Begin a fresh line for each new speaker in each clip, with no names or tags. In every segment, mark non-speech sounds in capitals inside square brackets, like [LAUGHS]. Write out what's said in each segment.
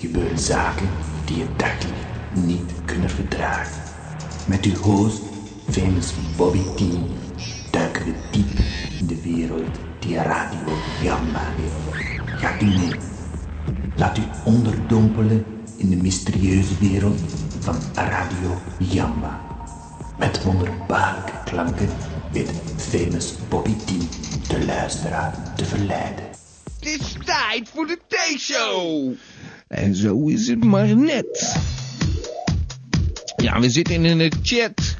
gebeuren zaken die je dagelijks niet kunnen verdragen. Met uw host, famous Bobby T, duiken we diep in de wereld die Radio Gamma heeft. Gaat u mee? Laat u onderdompelen in de mysterieuze wereld van Radio Jamba. Met wonderbaarlijke klanken weet famous Bobby T de luisteraar te verleiden.
Het is tijd voor de T-show.
En zo is het maar net. Ja, we zitten in een chat.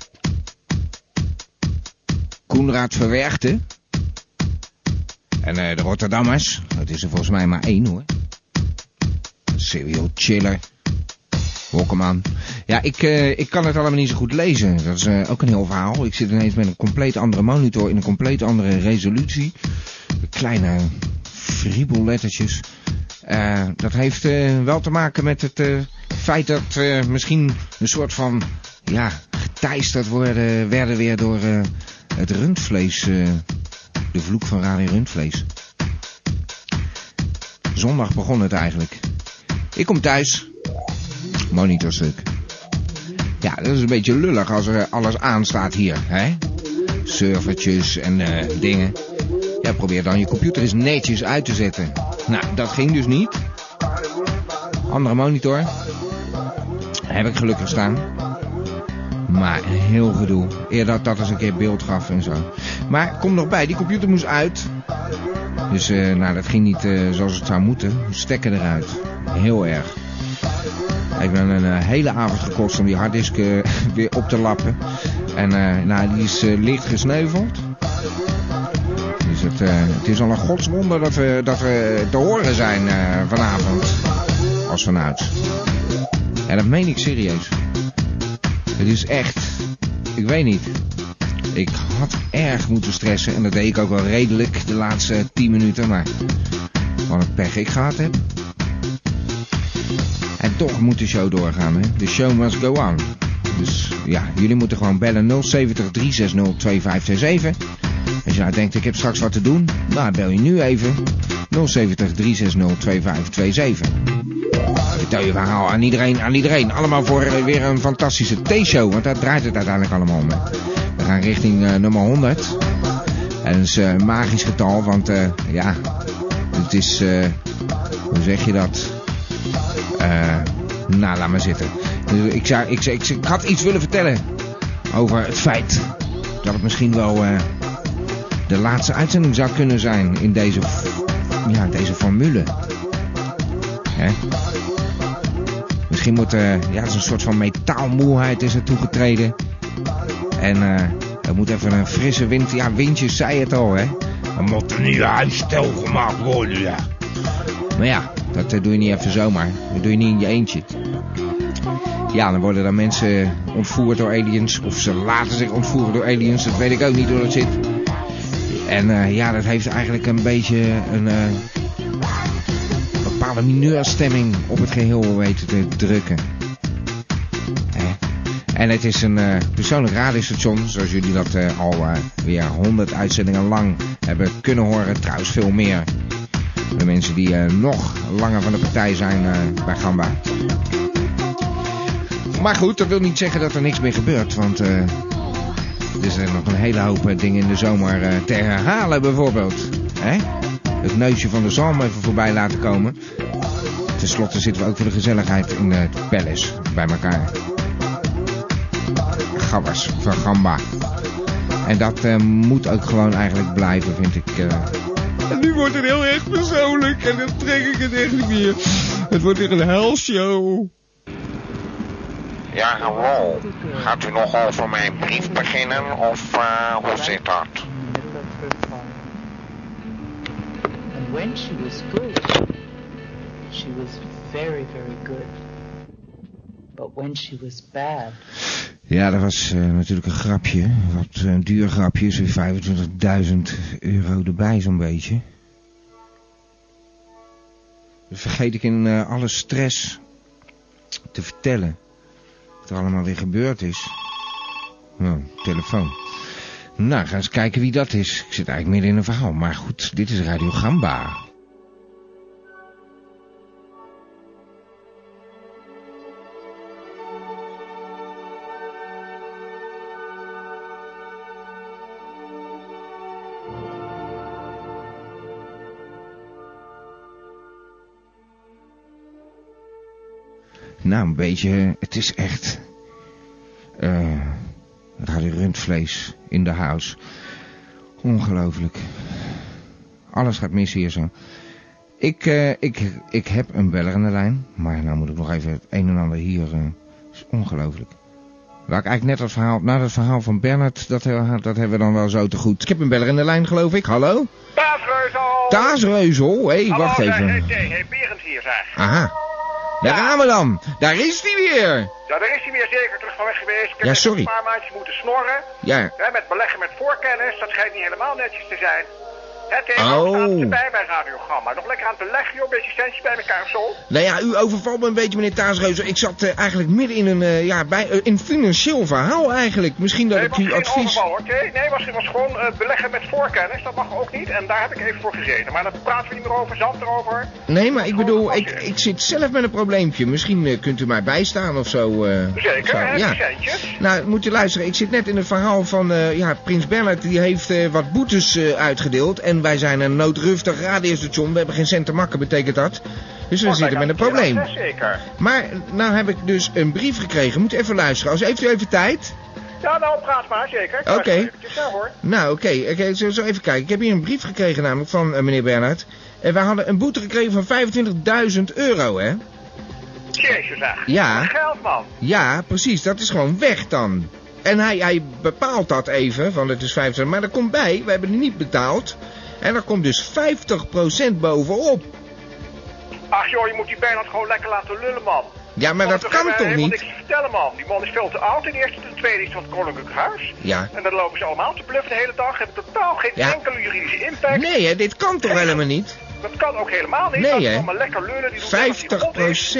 Koenraad Verwergte. En eh, de Rotterdammers. Dat is er volgens mij maar één hoor. Serial Chiller. Hokkeman. Ja, ik, eh, ik kan het allemaal niet zo goed lezen. Dat is eh, ook een heel verhaal. Ik zit ineens met een compleet andere monitor in een compleet andere resolutie. Kleine friebellettertjes. Eh, dat heeft eh, wel te maken met het eh, feit dat we misschien een soort van ja, geteisterd worden, werden weer door eh, het rundvlees. eh, de vloek van Radio Rundvlees. Zondag begon het eigenlijk. Ik kom thuis. Monitorstuk. Ja, dat is een beetje lullig als er alles aanstaat hier, hè? Servertjes en eh, dingen. Ja, probeer dan je computer eens netjes uit te zetten. Nou, dat ging dus niet. Andere monitor. Heb ik gelukkig staan. Maar heel gedoe. Eer dat dat eens een keer beeld gaf en zo. Maar kom nog bij, die computer moest uit. Dus eh, nou, dat ging niet eh, zoals het zou moeten. Stekker eruit. Heel erg. Ik ben een eh, hele avond gekost om die harddisk eh, [LAUGHS] weer op te lappen. En eh, nou, die is eh, licht gesneuveld. Dus het, eh, het is al een godswonder dat we, dat we te horen zijn eh, vanavond. Als vanuit. En dat meen ik serieus. Het is echt... Ik weet niet. Ik had erg moeten stressen. En dat deed ik ook wel redelijk de laatste 10 minuten. Maar wat een pech ik gehad heb. En toch moet de show doorgaan, hè? De show must go on. Dus ja, jullie moeten gewoon bellen 070 360 2527. Als je nou denkt, ik heb straks wat te doen, nou bel je nu even 070 360 2527. Vertel je verhaal aan iedereen, aan iedereen. Allemaal voor eh, weer een fantastische T-show, want daar draait het uiteindelijk allemaal om. hè. We gaan richting eh, nummer 100. En dat is eh, een magisch getal, want eh, ja, het is, eh, hoe zeg je dat? Eh, nou, laat maar zitten. Dus ik, zou, ik, zou- ik, zou- ik had iets willen vertellen over het feit dat het misschien wel eh, de laatste uitzending zou kunnen zijn in deze, f- ja, deze formule. Hè? Misschien moet, eh ja, het is een soort van metaalmoeheid is er toegetreden. En eh er moet even een frisse wind, ja, windjes zei het al, hè. Er moet een nieuw huisstel gemaakt worden, ja. Maar ja, dat eh, doe je niet even zomaar. Dat doe je niet in je eentje. Ja, dan worden dan mensen ontvoerd door aliens. Of ze laten zich ontvoeren door aliens. Dat weet ik ook niet hoe dat zit. En eh, ja, dat heeft eigenlijk een beetje een eh, bepaalde mineurstemming op het geheel weten te drukken. Hè? En het is een eh, persoonlijk radiostation, zoals jullie dat eh, al eh, weer honderd uitzendingen lang hebben kunnen horen. Trouwens, veel meer. De mensen die eh, nog langer van de partij zijn eh, bij Gamba. Maar goed, dat wil niet zeggen dat er niks meer gebeurt. Want eh, er zijn nog een hele hoop eh, dingen in de zomer eh, te herhalen bijvoorbeeld. Hè? Het neusje van de zalm even voorbij laten komen. Ten slotte zitten we ook voor de gezelligheid in eh, het palace bij elkaar. Gabbers van Gamba. En dat eh, moet ook gewoon eigenlijk blijven, vind ik. eh. En nu wordt het heel erg persoonlijk en dan trek ik het echt niet meer. Het wordt weer een helshow.
Ja, hallo. Gaat u nog over mijn brief beginnen of eh, hoe zit dat?
And when she was good, she was very, very good. But when she was bad,
Ja, dat was eh, natuurlijk een grapje. Wat een duur grapje. Zo'n 25.000 euro erbij, zo'n beetje. Dat vergeet ik in eh, alle stress te vertellen. Wat er allemaal weer gebeurd is. Oh, telefoon. Nou, ga eens kijken wie dat is. Ik zit eigenlijk midden in een verhaal. Maar goed, dit is Radio Gamba. Nou, een beetje... eh, Het is echt... eh Radio rundvlees in de house. Ongelooflijk. Alles gaat mis hier zo. Ik, eh, ik, ik heb een beller aan de lijn. Maar nou moet ik nog even het een en ander hier... eh, is ongelooflijk. Laat ik eigenlijk net dat verhaal... Na dat verhaal van Bernard, dat, he- dat hebben we dan wel zo te goed. Ik heb een beller in de lijn, geloof ik. Hallo?
Paasreuzel!
Taasreuzel? Hé,
Hallo,
wacht
daar-
even.
eh, eh, eh, Berend hier zeg.
Aha. Daar gaan we dan. Daar is hij weer.
Ja, daar is hij weer zeker terug van weg geweest. Ik heb
Ja,
net
sorry.
een paar maandjes moeten snorren.
Ja.
Hè, met beleggen met voorkennis, dat schijnt niet helemaal netjes te zijn. Het heeft
Oh.
ook staat erbij bij radiogramma. Nog lekker aan het beleggen, joh. Beetje centjes bij elkaar of zo.
Nou ja, u overvalt me een beetje, meneer Taasreuzel. Ik zat eh, eigenlijk midden in een, eh, ja, bij, eh, in een financieel verhaal eigenlijk. Misschien dat
Nee,
ik
was geen
u advies...
overval, hoor. Nee, nee was, was gewoon eh, beleggen met voorkennis. Dat mag ook niet. En daar heb ik even voor gezeten. Maar daar praten we niet meer over. Zand erover.
Nee, maar ik bedoel, ik,
Overvaltje.
ik zit zelf met een probleempje. Misschien eh, kunt u mij bijstaan of zo. eh,
Zeker,
zo,
hè, die
ja.
centjes.
Nou, moet u luisteren. Ik zit net in het verhaal van, eh, ja, Prins Bernhard die heeft eh, wat boetes eh, uitgedeeld. En wij zijn een noodruftig radiostation. We hebben geen cent te makken, betekent dat. Dus we
Wordt
zitten
bij
met een
dat
probleem.
keer, hè, Zeker.
Maar nou heb ik dus een brief gekregen. Moet even luisteren. Als heeft u even tijd?
Ja, nou, praat maar. Zeker. Ik
Oké.
luister eventjes, ja, hoor.
Nou, oké. Oké, zo, zo even kijken. Ik heb hier een brief gekregen namelijk van eh, meneer Bernhard. En wij hadden een boete gekregen van 25.000 euro, hè?
Jezus, zeg.
Ja.
Geld, man.
Ja, precies. Dat is gewoon weg dan. En hij, hij bepaalt dat even, van het is 25. Maar er komt bij, we hebben het niet betaald. En er komt dus 50% bovenop.
Ach joh, je moet die Bernard gewoon lekker laten lullen, man.
Ja, maar dat
Komt
kan
eh,
toch
helemaal
niet?
niks te vertellen, man. Die man is veel te oud. En de eerste en de tweede is van het Koninklijk Huis.
Ja.
En dan lopen ze allemaal te bluffen de hele dag. Hebben totaal geen
Ja.
enkele juridische impact.
Nee, hè, dit kan toch helemaal niet?
Dat kan ook helemaal niet.
Nee,
Laat die
hè.
man maar lekker lullen. Die doet net alsof hij
50
God is.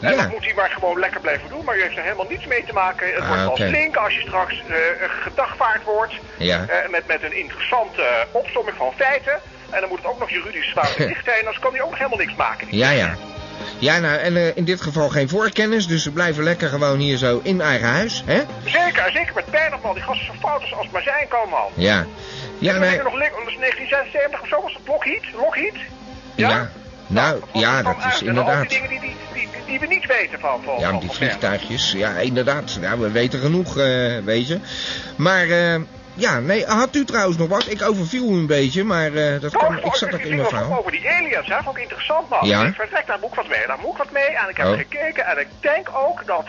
En dat
Ja,
moet hij maar gewoon lekker blijven doen. Maar u heeft er helemaal niets mee te maken. Het
Ah,
wordt wel
oké.
flink als je straks eh gedagvaard wordt.
Ja.
Eh, met, met een interessante eh, opsomming van feiten. En dan moet het ook nog juridisch zwaar
[LAUGHS]
gericht zijn. Anders kan hij ook nog helemaal niks maken. die
ja, ja. Ja, nou, en eh, in dit geval geen voorkennis, dus we blijven lekker gewoon hier zo in eigen huis, hè?
Zeker, zeker met Pijnig, man. Die gasten zijn fout als het maar zijn kan, man.
Ja. Ja,
Ja,
nee.
nog liggen, dat is 1976 of zo, was dat Lockheed? Lockheed?
Ja. Nou,
dat
ja,
kwam
dat
uit.
is
En al die
inderdaad.
dingen die, die, die, die, die we niet weten van, van,
Ja, die
van, van Bernard.
vliegtuigjes. Ja, inderdaad. Ja, we weten genoeg, eh, weet je. Maar, eh, ja, nee, had u trouwens nog wat? Ik overviel u een beetje, maar eh, dat
Oh,
kwam,
fuck,
ik zat
dus
ook
die
in mijn
dingen
verhaal.
over die aliens, hè? Vond ik interessant, man.
Ja.
Ik vertrek daar boek wat mee, daar moet ik wat mee. En ik heb
Oh.
gekeken en ik denk ook dat...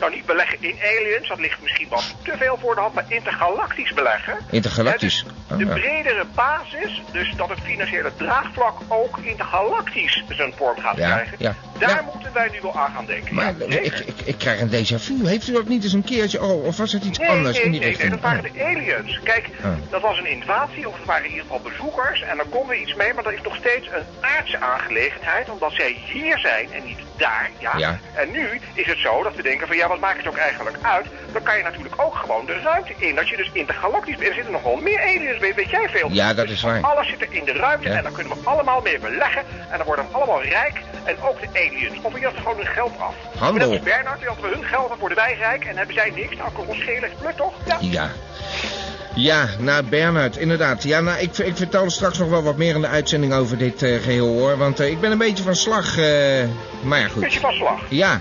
Nou, niet beleggen in aliens, dat ligt misschien wat te veel voor de hand, maar intergalactisch beleggen.
Intergalactisch.
Hè,
Oh,
dus
ja.
de bredere basis, dus dat het financiële draagvlak ook intergalactisch zijn vorm gaat
Ja,
krijgen.
ja.
Daar
Ja.
moeten wij nu wel aan gaan denken.
Maar eh,
Ja,
ik,
zeker.
ik, ik krijg een déjà vu. Heeft u dat niet eens een keertje? Oh, of was het iets
Nee,
anders
nee,
in die
nee, nee,
richting?
dat waren de aliens. Kijk,
Ah.
dat was een invasie, of het waren in ieder geval bezoekers. En daar konden we iets mee, maar dat is nog steeds een aardse aangelegenheid. Omdat zij hier zijn en niet daar, ja.
Ja.
En nu is het zo dat we denken van, ja, wat maakt het ook eigenlijk uit? Dan kan je natuurlijk ook gewoon de ruimte in. Dat je dus intergalactisch bent. Er zitten nog wel meer aliens, weet, weet jij veel.
Ja, dat
Dus
is waar.
alles zit er in de ruimte
Ja.
en daar kunnen we allemaal mee beleggen. En dan worden we allemaal rijk en ook de aliens. Of we jatten gewoon hun geld af.
Handel.
Net als Bernard, die hadden we hun geld, dan worden wij rijk en hebben zij niks. Nou, kan ons schelen, pluk toch? Ja.
Ja. Ja, nou Bernhard, inderdaad. Ja, nou, ik, ik vertel straks nog wel wat meer in de uitzending over dit eh, geheel hoor. Want eh, ik ben een beetje van slag. eh, maar ja,
Beetje
goed.
van slag.
Ja,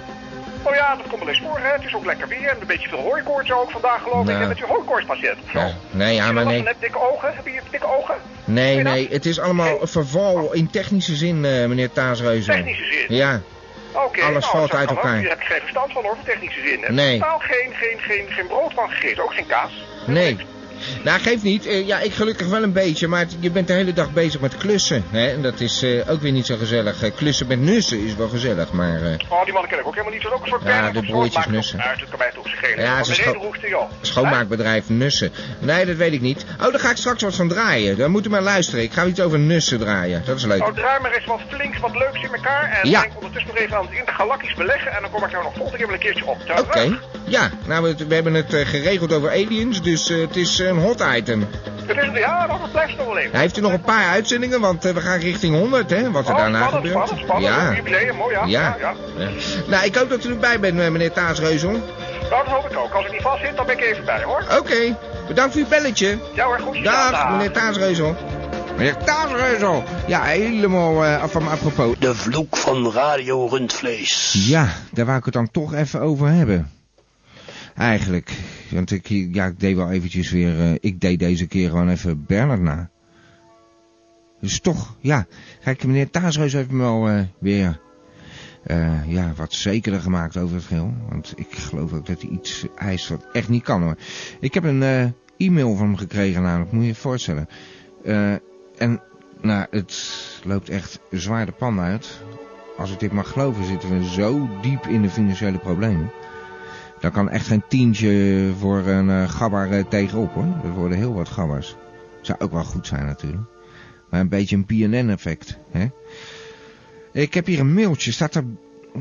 Oh ja, dat komt wel eens voor, hè. Het is ook lekker weer. En een beetje veel hooikoorts ook vandaag, geloof ik.
Nou.
En met je hooikoortspatiënt.
Nou, nee, ja, maar nee.
Heb dikke ogen? Heb je dikke ogen?
nee,
Ken je dat?
nee. Het is allemaal een verval in technische zin, eh, meneer Taasreuzen.
Technische zin?
Ja,
Oké,
Alles
nou,
valt
dat
uit
kan ook.
elkaar.
Hier heb ik geen verstand van, hoor, van technische zin. Heb
Nee.
Ik totaal geen, geen, geen, geen brood van gegeten, ook geen kaas.
nee. Nou, geeft niet. Eh, ja, ik gelukkig wel een beetje. Maar het- je bent de hele dag bezig met klussen. Hè? En dat is eh, ook weer niet zo gezellig. Eh, klussen met nussen is wel gezellig, maar... eh,
Oh, die mannen ken ik ook helemaal niet. Dat is ook een soort
Ja,
Bernard
de
of zo.
broertjes
Maakt het
Nussen.
ook Uit, dat kan mij toch schelen.
Ja,
Maar
ze
de
scho-
reden roekte, joh.
Schoonmaakbedrijf Nussen. Nee, dat weet ik niet. Oh, daar ga ik straks wat van draaien. Dan moet u maar luisteren. Ik ga iets over Nussen draaien. Dat is leuk.
Nou, draai maar eens wat flink wat leuks in elkaar. En
Ja.
denk ondertussen nog even aan het intergalactisch beleggen. En dan kom ik daar nog volgende keer wel een keertje op.
Oké. Ja, nou, we, we hebben het eh, geregeld over aliens, dus eh, het is een hot item.
Het is, ja, dat blijft nog wel even.
Hij heeft u nog een paar uitzendingen, want eh, we gaan richting 100, hè? Wat er
Oh,
daarna
spannend,
gebeurt.
spannend, spannend.
Ja.
Jubileum, mooi, ja.
Ja.
ja.
Ja. Nou, ik hoop dat u erbij bent, eh, meneer Taasreuzel.
Nou, dat hoop ik ook. Als ik niet vast zit, dan ben ik even bij, hoor.
Oké, bedankt voor uw belletje.
Ja hoor, goed gedaan.
Dag, meneer Taasreuzel. Meneer Kaasreuzel. Ja, helemaal eh, af van me apropos.
De vloek van Radio Rundvlees.
Ja, daar wou ik het dan toch even over hebben. Eigenlijk. Want ik, ja, ik deed wel eventjes weer... eh, ik deed deze keer gewoon even Bernard na. Dus toch, ja. Kijk, meneer Taasreus heeft me al eh, weer... eh, ja, wat zekerder gemaakt over het geheel. Want ik geloof ook dat hij iets eist wat echt niet kan hoor. Ik heb een eh, e-mail van hem gekregen namelijk, moet je je voorstellen. Eh, en nou, het loopt echt zwaar de pan uit als ik dit mag geloven, zitten we zo diep in de financiële problemen. Daar kan echt geen tientje voor een eh, gabber eh, tegenop hoor. Dat worden heel wat gabbers. Zou ook wel goed zijn natuurlijk. Maar een beetje een PNN-effect. hè? Ik heb hier een mailtje. Staat er...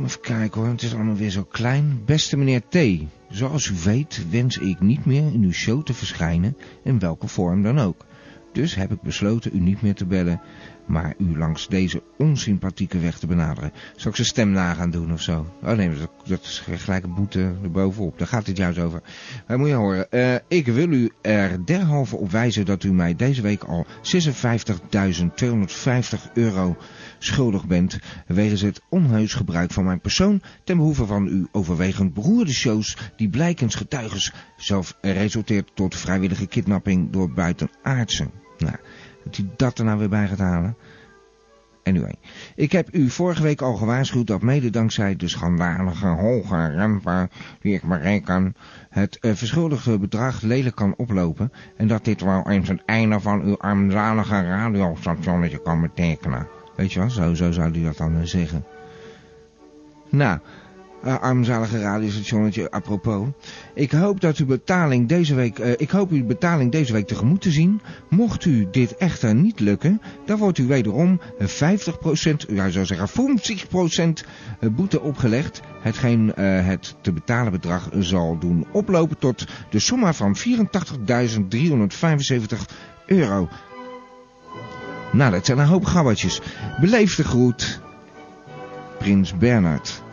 Even kijken hoor, het is allemaal weer zo klein. Beste meneer T. Zoals u weet wens ik niet meer in uw show te verschijnen. In welke vorm dan ook. Dus heb ik besloten u niet meer te bellen maar u langs deze onsympathieke weg te benaderen. Zal ik zijn stem na gaan doen of zo? Oh nee, dat, dat is gelijk een boete erbovenop. Daar gaat het juist over. Maar moet je horen, eh, ik wil u er derhalve op wijzen dat u mij deze week al 56.250 euro schuldig bent... wegens het onheus gebruik van mijn persoon... ten behoeve van uw overwegend beroerde shows die blijkens getuigens... zelf resulteert tot vrijwillige kidnapping door buitenaardsen. Nou... Dat u dat er nou weer bij gaat halen. Anyway, ik heb u vorige week al gewaarschuwd dat mede dankzij de schandalige hoge rampen die ik bereken, het eh, verschuldigde bedrag lelijk kan oplopen en dat dit wel eens het einde van uw armzalige radiostationnetje kan betekenen. Weet je wel, zo, zo zou u dat dan eh, zeggen. Nou, eh, armzalige radiostationnetje apropos. Ik hoop dat uw betaling deze week, eh, ik hoop uw betaling deze week tegemoet te zien. Mocht u dit echter niet lukken, dan wordt u wederom 50%, ja, ik zou zeggen 50% boete opgelegd. Hetgeen eh, het te betalen bedrag zal doen oplopen tot de somma van 84.375 euro. Nou, dat zijn een hoop gabbertjes. Beleefde groet, Prins Bernhard.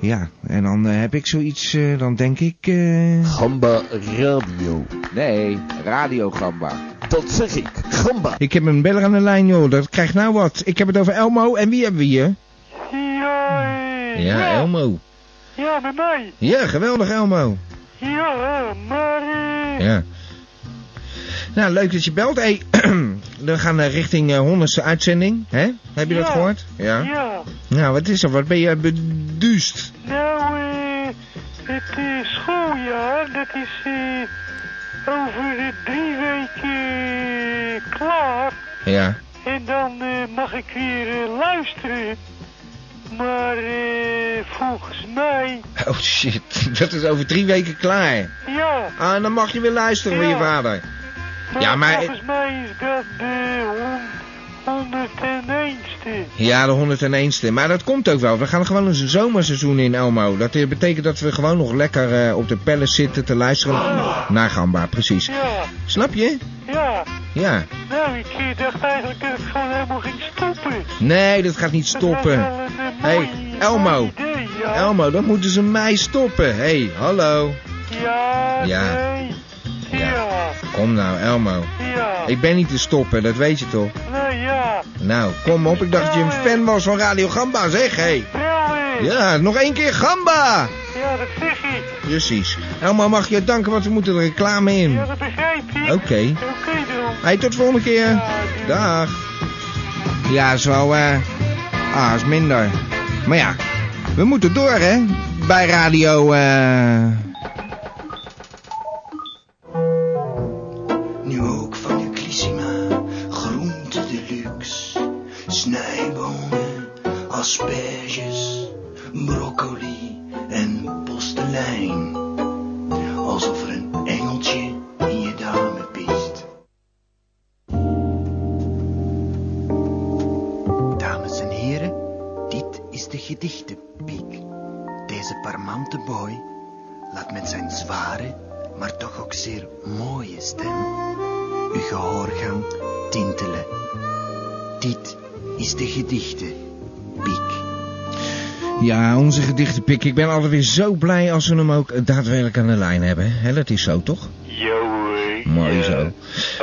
Ja, en dan eh, heb ik zoiets, eh, dan denk ik... eh,
Gamba Radio.
Nee, Radio Gamba.
Dat zeg ik. Gamba.
Ik heb een beller aan de lijn, joh. Dat krijgt nou wat. Ik heb het over Elmo. En wie hebben we hier?
Ja, eh,
Elmo.
ja, met mij.
Ja, geweldig, Elmo.
Ja, eh, maar eh,
Ja. Nou, leuk dat je belt. Hey, [CLEARS THROAT] we gaan eh, richting eh Honderdste uitzending. hè? Heb je dat
Ja.
gehoord?
ja.
Nou, wat is er? Wat ben je beduust?
Nou, eh, het eh, schooljaar, dat is eh, over eh, drie weken eh, klaar.
Ja.
En dan eh, mag ik weer eh, luisteren. Maar eh, volgens mij,
Oh shit, [LAUGHS] dat is over drie weken klaar.
ja.
Ah, en dan mag je weer luisteren met je
Ja.
vader. Ja, maar-
Volgens mij is dat de hon- 101ste.
Ja, de 101ste. Maar dat komt ook wel. We gaan gewoon eens een zomerseizoen in Elmo. Dat eh, betekent dat we gewoon nog lekker eh, op de palace zitten te luisteren naar Gamba, precies.
Ja,
Snap je?
ja.
Ja.
Nou, ik eh, dacht eigenlijk dat ik gewoon helemaal ging stoppen.
Nee, dat gaat niet stoppen.
eh,
Hey, Elmo.
Elmo.
Elmo, dan moeten ze mij stoppen. Hé, hey, hallo.
Ja,
Ja.
nee. Ja,
Kom nou, Elmo.
ja.
Ik ben niet te stoppen, dat weet je toch?
Nou ja,
Nou, kom op. Ik dacht dat je een fan was van Radio Gamba, zeg. Hé. Hey.
wel eens.
Ja, nog één keer Gamba.
Ja, dat zeg ik.
Precies. Elmo mag je danken, want we moeten er reclame in.
Ja, dat begrijp ik.
Oké.
Oké dan.
Hey, tot volgende keer.
doei.
Dag. Ja, zo, eh... Ah, is minder. Maar ja, we moeten door, hè? Bij radio, eh...
Nu ook van de Klissima, groente deluxe. Snijbonen, asperges, broccoli en postelijn. Alsof er een engeltje in je dame piest.
Dames en heren, dit is de gedichtenpiek. Deze parmante boy laat met zijn zware, maar toch ook zeer mooie stem uw gehoorgang tintelen. Dit is de gedichtenpiek.
Ja, onze gedichtenpik. Ik ben altijd weer zo blij als we hem ook daadwerkelijk aan de lijn hebben. Hè, dat is zo, toch?
Yo,
Mooi zo.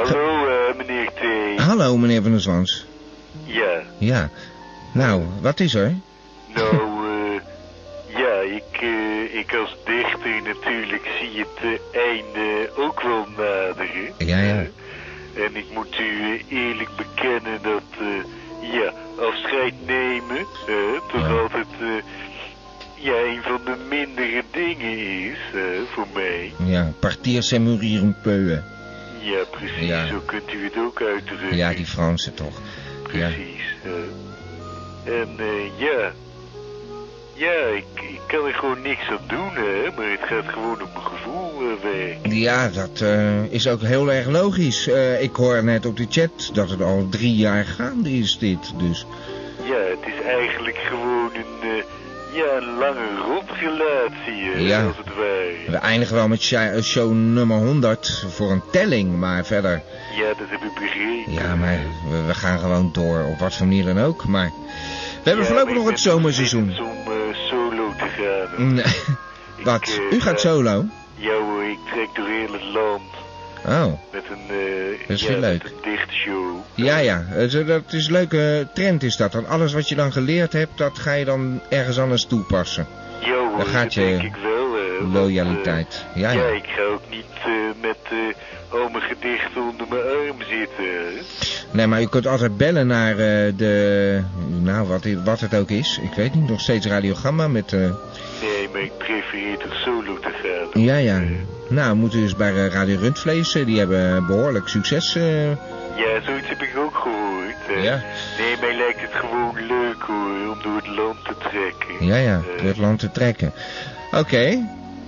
Hallo, eh, meneer T.
hallo meneer Van der Zwans.
Ja,
Ja. Nou, wat is er?
nou, eh, ja, ik, eh, ik als dichter natuurlijk zie het eh, einde ook wel naderen.
Ja, ja.
En ik moet u eh, eerlijk bekennen dat, eh, ja, afscheid nemen, eh, toch altijd, eh, ja, een van de mindere dingen is, eh, voor mij.
Ja, partier c'est mourir un peu.
Ja, precies,
Ja.
zo kunt u het ook uitdrukken.
Ja, die Fransen toch. Ja.
Eh, en eh, ja. Ja, ik, ik kan er gewoon niks aan doen, hè. Maar het gaat gewoon om mijn gevoel eh, weg.
Ja, dat eh, is ook heel erg logisch. Eh, ik hoor net op de chat dat het al drie jaar gaande is dit, dus...
Ja, het is eigenlijk gewoon een... eh, ja, een lange rotrelatie, hè,
Ja.
als het ware.
We eindigen wel met sha- show nummer 100 voor een telling, maar verder...
Ja, dat heb ik begrepen.
Ja, maar we, we gaan gewoon door, op wat voor manier dan ook, maar... We hebben
Ja,
voorlopig
maar
nog
ik
het
ben
zomerseizoen. Hm?
Om eh, solo te gaan.
Nee, [LAUGHS] wat?
eh,
U gaat
eh,
solo?
Ja hoor, ik trek door heel het land.
Oh,
Met een... eh,
Dat is
ja,
heel
met
leuk.
een dichtshow.
ja, ja. eh, zo- Dat is een leuke trend is dat. Dan alles wat je dan geleerd hebt, dat ga je dan ergens anders toepassen.
Ja hoor,
Dan gaat
dat
je
denk ik wel. eh, want,
Loyaliteit.
eh,
Ja, ja.
ik ga ook niet eh, met eh, al mijn gedichten onder mijn arm zitten.
Nee, maar u kunt altijd bellen naar eh, de... Nou, wat, i- wat het ook is. Ik weet niet, nog steeds Radiogramma met... eh,
Nee, maar ik prefereer toch solo te gaan.
Ja, ja. Nou, moet u eens bij eh, Radio Rundvlees. eh, die hebben behoorlijk succes. eh.
Ja, zoiets heb ik ook gehoord. hè.
Ja.
Nee, mij lijkt het gewoon leuk hoor, om door het land te trekken.
ja, ja. Door het land te trekken. Oké.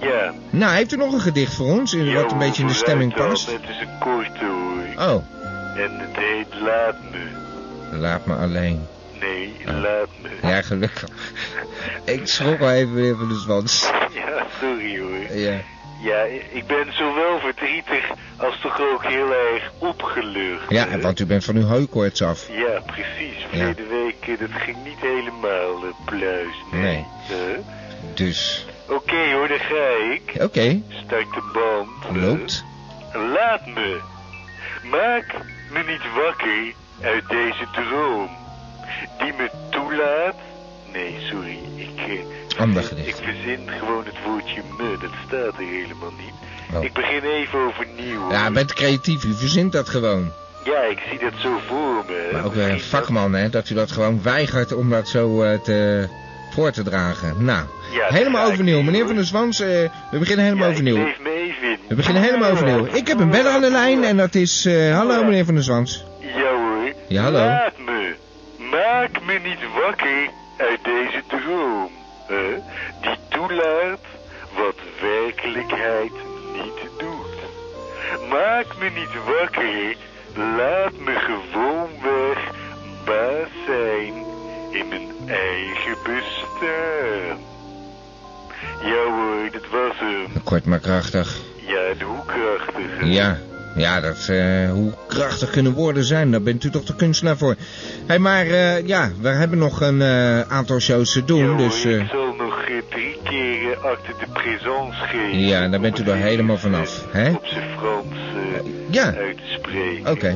Ja.
Nou, heeft u nog een gedicht voor ons? eh, Wat een beetje in de stemming
Vooruit
past?
dan, Het is een korte hoor.
Oh,
En het heet Laat Me.
laat me alleen. Oh.
Nee, Laat Me.
Ja, gelukkig. Ik schrok al even weer van de zwans.
Ja, sorry hoor.
Ja.
Ja, ik ben zowel verdrietig als toch ook heel erg opgelucht.
ja,
hè?
want u bent van uw hooikoorts af.
Ja, precies. Verleden week, eh, dat ging niet helemaal eh, pluis. Eh?
Nee.
hè?
Dus,
Oké hoor, daar ga ik.
oké.
Start de band. hè?
Loopt.
Laat me. Maak me niet wakker uit deze droom. Die me toelaat... Nee, sorry. Ik, eh,
Ander
verzin-
gedicht.
ik verzin gewoon het woordje me. Dat staat er helemaal niet.
Oh.
Ik begin even overnieuw. hoor.
Ja, u bent creatief. U verzint dat gewoon.
Ja, ik zie dat zo voor me. hè.
Maar ook weer een vakman, hè. Dat u dat gewoon weigert om dat zo eh, te, voor te dragen. Nou,
Ja, dat ga
helemaal
ik
overnieuw.
doen,
Meneer
hoor.
van der Zwans, eh, we beginnen helemaal
Ja, ik
overnieuw.
leef me even in.
We beginnen helemaal overnieuw. Ik heb een beller aan de lijn en dat is... eh, hallo, meneer van der Zwans.
Ja hoor.
Ja, hallo.
Laat me. Maak me niet wakker uit deze droom. hè, Die toelaat wat werkelijkheid niet doet. Maak me niet wakker. Laat me gewoonweg baas zijn in mijn eigen bestaan. Ja hoor, dat was hem.
Kort maar krachtig.
Ja, en hoe krachtig. hè.
Ja, ja dat, eh, hoe krachtig kunnen woorden zijn, daar bent u toch de kunstenaar voor. Hé, hey, maar eh, ja, we hebben nog een eh, aantal shows te doen,
Ja,
dus...
hoor,
eh,
ik zal nog eh, drie keer eh, acte de présence geven.
ja, daar bent u er helemaal vanaf, hè?
Op zijn Frans eh,
Ja.
uit te spreken.
Oké.
Eh,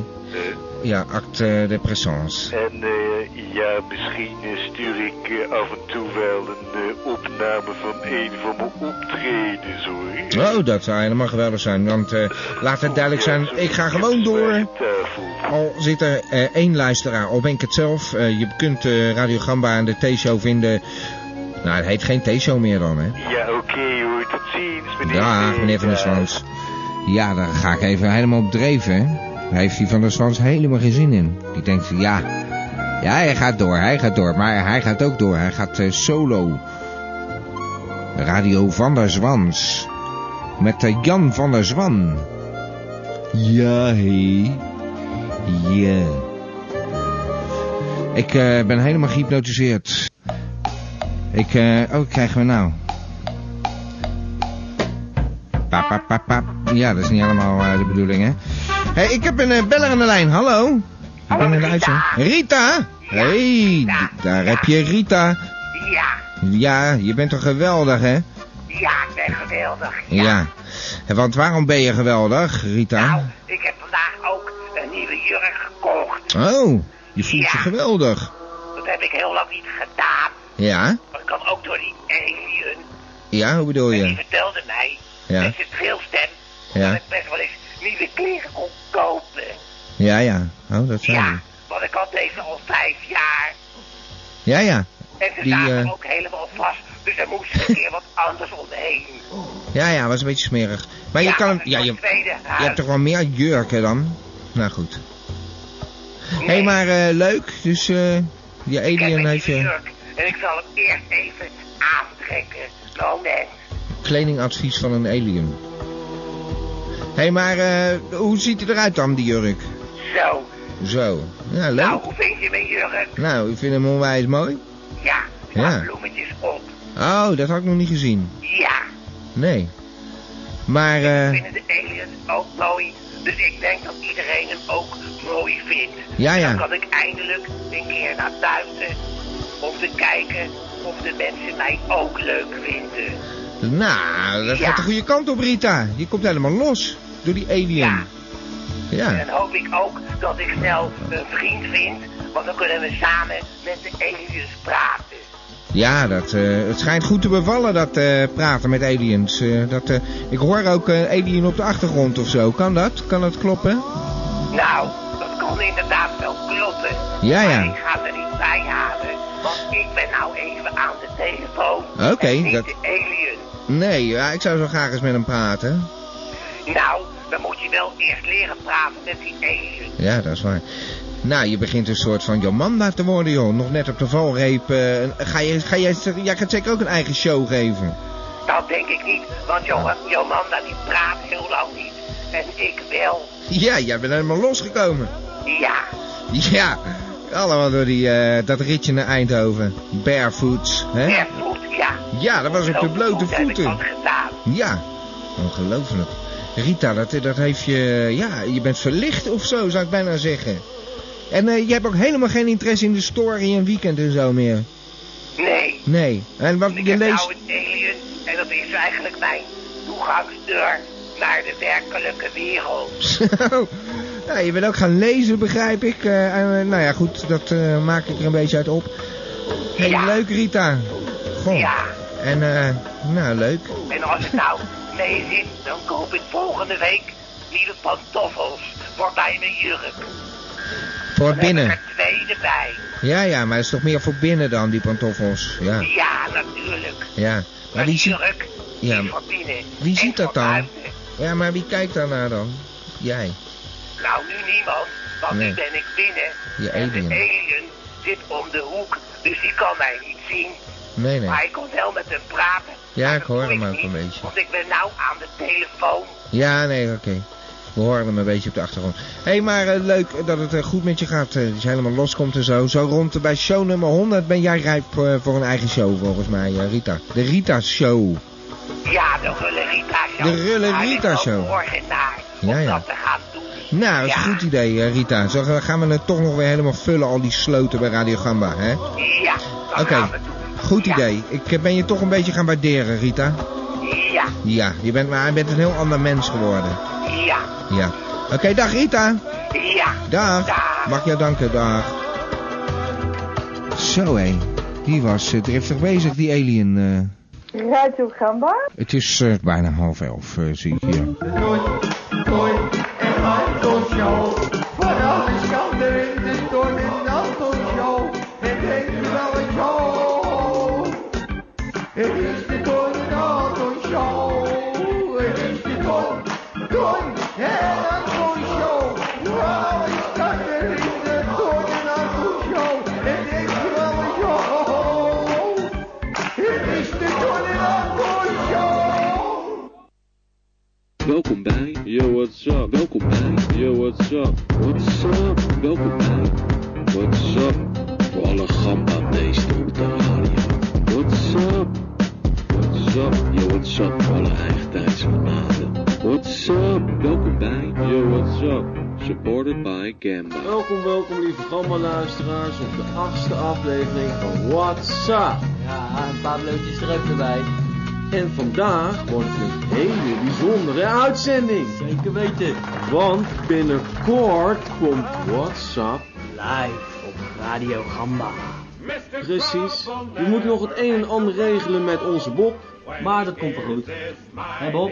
Ja, acte de présence.
en eh, ja, misschien eh, stuur ik eh, af en toe wel een eh, opname van een van mijn optredens hoor.
Oh, dat zou helemaal geweldig zijn, want eh, laat het duidelijk zijn, ik ga gewoon door.
eh,
Al zit er eh, één luisteraar, al ben ik het zelf. Eh, je kunt eh, Radio Gamba en de T-show vinden. Nou, het heet geen T-show meer dan, hè?
Ja, oké hoor, tot ziens meneer. eh.
Dag, meneer Van der Zwans. Ja, daar ga ik even helemaal op dreven. hè. Daar heeft die Van der Zwans helemaal geen zin in. Die denkt, ja, ja, hij gaat door, hij gaat door. Maar hij gaat ook door, hij gaat eh, solo. Radio Van der Zwans. Met eh, Jan van der Zwan. Ja, hé. Ja. Ik eh, ben helemaal gehypnotiseerd. Ik, eh, oh, wat krijgen we nou? Pap, pap, pap, pap. Ja, dat is niet helemaal eh, de bedoeling, hè? Hé, ik heb een eh, beller aan de lijn. Hallo? Ik ben in de uitzending. Rita? Hé, d- daar heb je Rita.
Ja,
Ja, je bent toch geweldig, hè?
ja, ik ben geweldig.
Ja. Want waarom ben je geweldig, Rita?
Nou.
Nou, Ik heb vandaag ook een nieuwe jurk gekocht.
Oh, je voelt je geweldig.
Dat heb ik heel lang niet gedaan.
Ja?
Maar ik kan ook door die alien.
Ja, hoe bedoel
Die
je?
vertelde mij
Ja.
met zijn trilstem dat
Ja,
ik best wel eens nieuwe kleren kon kopen.
ja, ja. Oh, dat zijn je.
Want ik had deze al vijf jaar.
Ja, ja.
En ze
Die,
zaten
eh,
ook helemaal vast. Dus er moest een keer wat anders omheen.
Ja, ja, was een beetje smerig. Maar je
Ja,
kan hem...
dat is
Ja,
mijn
je,
tweede huis.
je hebt toch wel meer jurken dan? Nou goed. Hé, hey, maar eh, leuk. Dus eh die alien heeft je
En ik zal hem eerst even aantrekken. Oh, Moment.
kledingadvies van een alien. Hé, hey, maar eh, hoe ziet hij eruit dan, die jurk?
Zo.
Zo. Ja, leuk.
Nou,
Nou,
hoe vind je mijn jurk?
ik vind hem onwijs mooi.
Ja.
Ja.
Bloemetjes op.
Oh, dat had ik nog niet gezien.
Ja.
Nee. Maar, eh...
Vinden de aliens ook mooi. Dus ik denk dat iedereen hem ook mooi vindt.
Ja, ja.
Dan kan ik eindelijk een keer naar buiten. Om te kijken of de mensen mij ook leuk vinden.
Nou, dat
Ja.
gaat de goede kant op, Rita. Je komt helemaal los door die alien. Ja.
En dan hoop ik ook dat ik snel een vriend vind. Want dan kunnen we samen met de aliens praten.
Ja, dat, eh, het schijnt goed te bevallen, dat eh, praten met aliens. Eh, dat, eh, ik hoor ook eh alien op de achtergrond of zo. Kan dat? Kan dat kloppen?
Nou, dat kan inderdaad wel kloppen.
Ja, ja.
Maar ik ga er niet bij halen. Want ik ben nou even aan de telefoon.
Oké,
En niet
dat-
de alien.
Nee, ja, ik zou zo graag eens met hem praten.
Nou, dan moet je wel eerst leren praten met die alien.
Ja, dat is waar. Nou, je begint een soort van Jomanda te worden, joh. Nog net op de valreep. eh, en ga je, ga jij, jij gaat zeker ook een eigen show geven.
Dat denk ik niet, want Jo- Jomanda die praat heel lang niet. En ik wel.
Ja, jij bent helemaal losgekomen.
Ja,
[LAUGHS] Ja, allemaal door die, eh, dat ritje naar Eindhoven. Barefoots, hè?
Barefoots, ja.
Ja, dat was op de blote
heb ik
voeten.
dat gedaan.
Ja, ongelooflijk. Rita, dat, dat heeft je... Ja, je bent verlicht of zo, zou ik bijna zeggen. En eh, je hebt ook helemaal geen interesse in de story en weekend en zo meer.
Nee.
Nee. En wat
Ik
je
heb
leest...
nou een alien en dat is eigenlijk mijn toegangsdeur naar de werkelijke wereld.
[LAUGHS] Zo. Nou, Ja, je bent ook gaan lezen, begrijp ik. Eh, en, eh, nou ja, goed, dat eh, maak ik er een beetje uit op. Hey, leuk, Rita. Goh.
Ja.
En, eh, nou, leuk.
En als het nou mee zit, dan koop ik volgende week nieuwe pantoffels voor bij mijn jurk.
Voor binnen.
Tweede bij.
Ja, ja, maar het is toch meer voor binnen dan, die pantoffels. Ja.
Ja, natuurlijk.
Ja. Maar wie ziet... Ja.
Voor binnen.
Wie ziet dat dan? Ja, maar wie kijkt daarnaar dan? Jij.
Nou, nu niemand, want
Nee.
nu ben ik binnen.
Je
en de
alien.
alien zit om de hoek, dus die kan mij niet zien.
Nee, nee.
Maar ik kon wel met hem praten,
Ja, ik hoor hem ook een beetje.
want ik ben nou aan de telefoon.
Ja, nee, oké. We horen hem een beetje op de achtergrond. Hé, hey, maar eh, leuk dat het eh, goed met je gaat. eh, dat je helemaal loskomt en zo. Zo rond eh, bij show nummer 100 ben jij rijp eh, voor een eigen show, volgens mij, eh, Rita. De Rita Show.
Ja, de Rulle Rita Show.
De Rulle
Hij
Rita
is ook
Show.
morgen naar
Ja, ja.
te gaan doen.
Nou, dat is een goed idee, eh, Rita. Zo eh, gaan we het toch nog weer helemaal vullen, al die sloten bij Radio Gamba, hè?
Ja,
Hm? Oké, goed idee. Ik eh, ben je toch een beetje gaan waarderen, Rita.
ja,
Ja, je bent, maar je bent een heel ander mens geworden.
ja,
Ja. Oké, dag Rita.
ja.
Dag. Mag ik jou danken, dag. Zo hé, die was eh, driftig bezig, die alien. eh.
Radio Gamba?
Het is eh, bijna half elf, eh, zie ik hier.
Welkom bij Yo What's Up. Welkom bij Yo What's Up. What's up? Welkom bij What's Up. Voor alle gamba beesten op de radio. What's up? What's up? Yo What's Up. Voor alle eigentijdse What's up? Welkom bij Yo What's Up. Supported by Gamba.
Welkom, welkom lieve Gamma-luisteraars op de achtste aflevering van WhatsApp.
Ja, en Pablootje is er ook erbij.
En vandaag wordt het een hele bijzondere uitzending. Zeker weten. Want binnenkort komt WhatsApp live op Radio Gamba. Precies. We moeten nog het een en ander regelen met onze Bob. Maar dat komt wel goed. Hé Bob?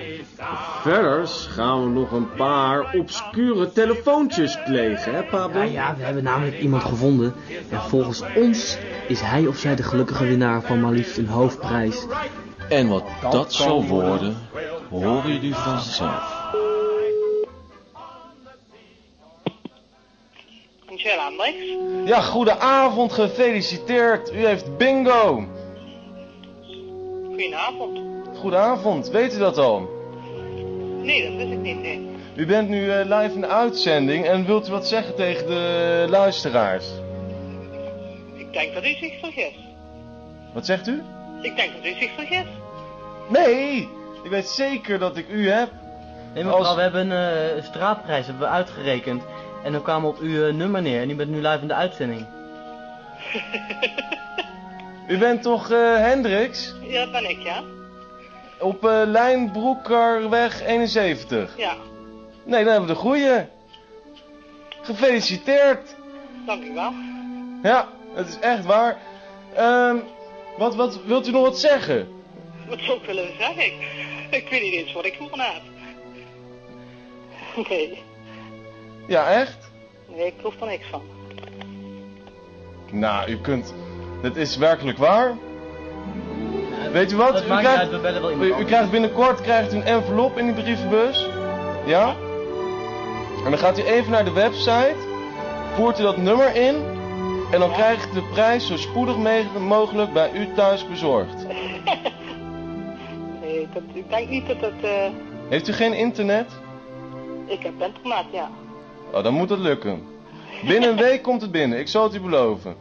Verder gaan we nog een paar obscure telefoontjes plegen, hè Pablo?
Ja, ja, we hebben namelijk iemand gevonden. En volgens ons is hij of zij de gelukkige winnaar van maar liefst een hoofdprijs.
En wat dat zal worden, horen jullie vanzelf.
Michelle Hendricks.
Ja, goedenavond, gefeliciteerd. U heeft bingo.
Goedenavond.
Goedenavond, weet u dat al?
Nee, dat wist ik niet. Nee.
U bent nu eh, live in de uitzending en wilt u wat zeggen tegen de luisteraars?
Ik denk dat u zich vergist.
Wat zegt u?
Ik denk dat u zich vergist.
Nee, ik weet zeker dat ik u heb.
Nee, mevrouw, we hebben een eh, straatprijs hebben we uitgerekend. En dan kwamen we op uw eh, nummer neer. En u bent nu live in de uitzending.
U bent toch eh, Hendricks?
Ja, dat ben ik, ja.
Op eh Lijnbroekerweg 71.
Ja,
Nee, dan hebben we de goeie. Gefeliciteerd.
dank u wel.
Ja, het is echt waar. Ehm, wat, wat, wilt u nog wat zeggen?
Wat zou ik willen zeggen? Ik, ik weet niet eens wat ik hoor heb. Nee,
Ja, echt?
nee, ik proef er niks van.
Nou, u kunt... Dit is werkelijk waar. Weet u wat?
dat
U
maakt niet
krijgt,
uit, we bellen wel
u-
iemand
u
anders.
krijgt binnenkort krijgt u een envelop in die brievenbus. Ja? En dan gaat u even naar de website. Voert u dat nummer in. En dan krijgt de prijs zo spoedig me- mogelijk bij u thuis bezorgd.
Nee, dat, ik denk niet dat het... eh,
Heeft u geen internet?
ik heb internet, ja.
Oh, dan moet het lukken. Binnen
[LAUGHS]
een week komt het binnen, ik zal het u beloven.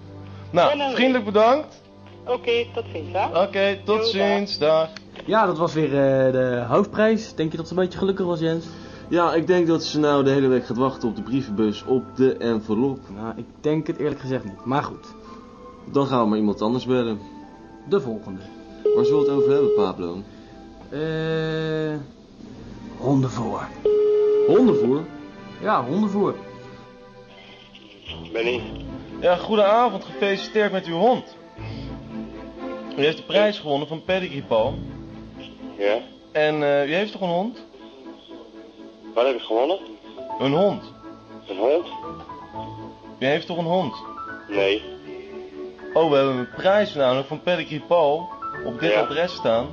Nou, vriendelijk bedankt.
Oké, tot ziens, hè. Oké,
tot ziens, dag.
Ja, dat was weer eh, de hoofdprijs. Denk je dat ze een beetje gelukkig was, Jens?
Ja, ik denk dat ze nou de hele week gaat wachten op de brievenbus, op de envelop.
Nou, ik denk het eerlijk gezegd niet. Maar goed,
Dan gaan we maar iemand anders bellen.
de volgende.
Waar zullen we het over hebben, Pablo?
Eh... hondenvoer.
Hondenvoer?
Ja, hondenvoer.
Benny. Ja, goedenavond, gefeliciteerd met uw hond. U heeft de prijs gewonnen van Pedigree Paul.
Ja,
En eh, u heeft toch een hond?
wat heb ik gewonnen?
Een hond.
Een hond?
U heeft toch een hond?
Nee.
Oh, we hebben een prijs namelijk van Pedigree Paul op dit
Ja.
adres staan.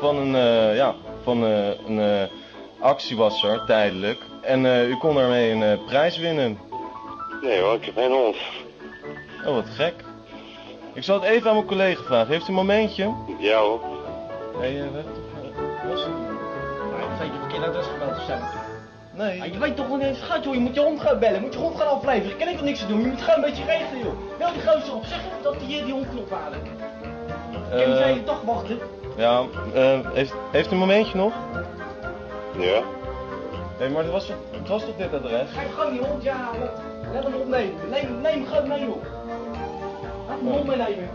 Van een, eh, ja, van eh, een eh, actiewasser, tijdelijk. En eh, u kon daarmee een eh, prijs winnen.
Nee hoor, ik heb geen hond.
Oh, wat gek. Ik zal het even aan mijn collega vragen. Heeft u een momentje?
Ja hoor.
Nee, eh, wacht.
Waarom zijn je verkeerd adres gebeld of
Nee.
je weet toch wat eens gaat, joh. Je moet je hond gaan bellen. Moet je hond gaan afleveren. Ik kan even niks te doen. Je moet gewoon een beetje regelen, joh. Bel die gozer op. Zeg hem dat hij hier die hond wil halen. Kan je
Eh,
hele dag wachten?
Ja, eh, heeft, heeft u een momentje nog?
Ja.
Nee, maar het was, toch- het was toch dit adres?
Ga je gewoon die hond ja halen. Laat hem opnemen. Neem, neem hem gewoon mee, joh. Laat hem hond meenemen.